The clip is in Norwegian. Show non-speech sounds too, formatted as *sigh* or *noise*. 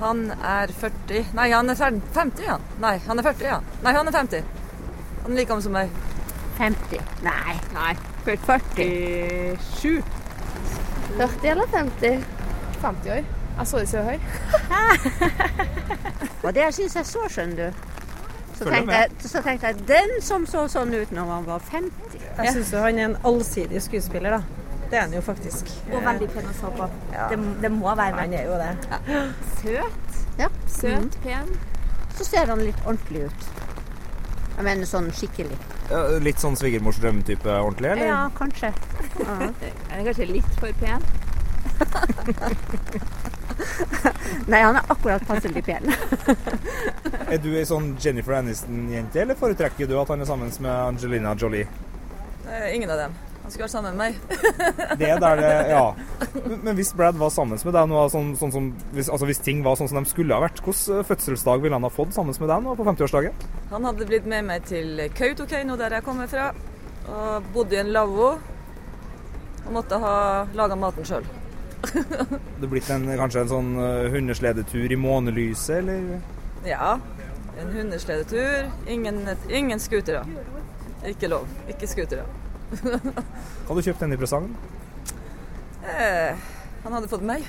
Han er 40 Nei, han er fer- 50, han. Nei, han er 40, ja. Nei, han er 50. Han er like gammel som meg. 50. Nei, Nei. 40. 47. 40 eller 50? 50 år. Jeg så det så *laughs* høy. Og det syns jeg så, skjønner du. Så Følger tenkte, jeg, så tenkte jeg den som så sånn ut når han var 50. Jeg syns han er en allsidig skuespiller, da. Det er han jo faktisk. Og veldig pen å se på. Det, det må være Han er jo det. Søt. Ja. Søt, pen. mm, Så ser han litt ordentlig ut. Jeg mener sånn skikkelig. Ja, litt sånn svigermors drømmetype ordentlig, eller? Ja, kanskje. Er kanskje litt for pen. Nei, han er akkurat passelig pen. Er du ei sånn Jennifer Aniston-jente, eller foretrekker du at han er sammen med Angelina Jolie? Eh, ingen av dem. Han skulle vært sammen med meg. Det er der det Ja. Men- Men hvis Brad var sammen med deg nå, sånn, sånn som hvis, altså, hvis ting var sånn som de skulle ha vært, hvilken fødselsdag ville han ha fått sammen med deg nå på 50-årsdagen? Han hadde blitt med meg til Kautokeino, der jeg kommer fra, og bodde i en lavvo. Og måtte ha laga maten sjøl. Det blitt en, kanskje en sånn eh, hundesledetur i månelyset, eller? Ja. En hundesledetur. Ingen, ingen scootere. Ikke lov. Ikke scootere. Hva hadde du kjøpt henne i presang? Eh, han hadde fått meg.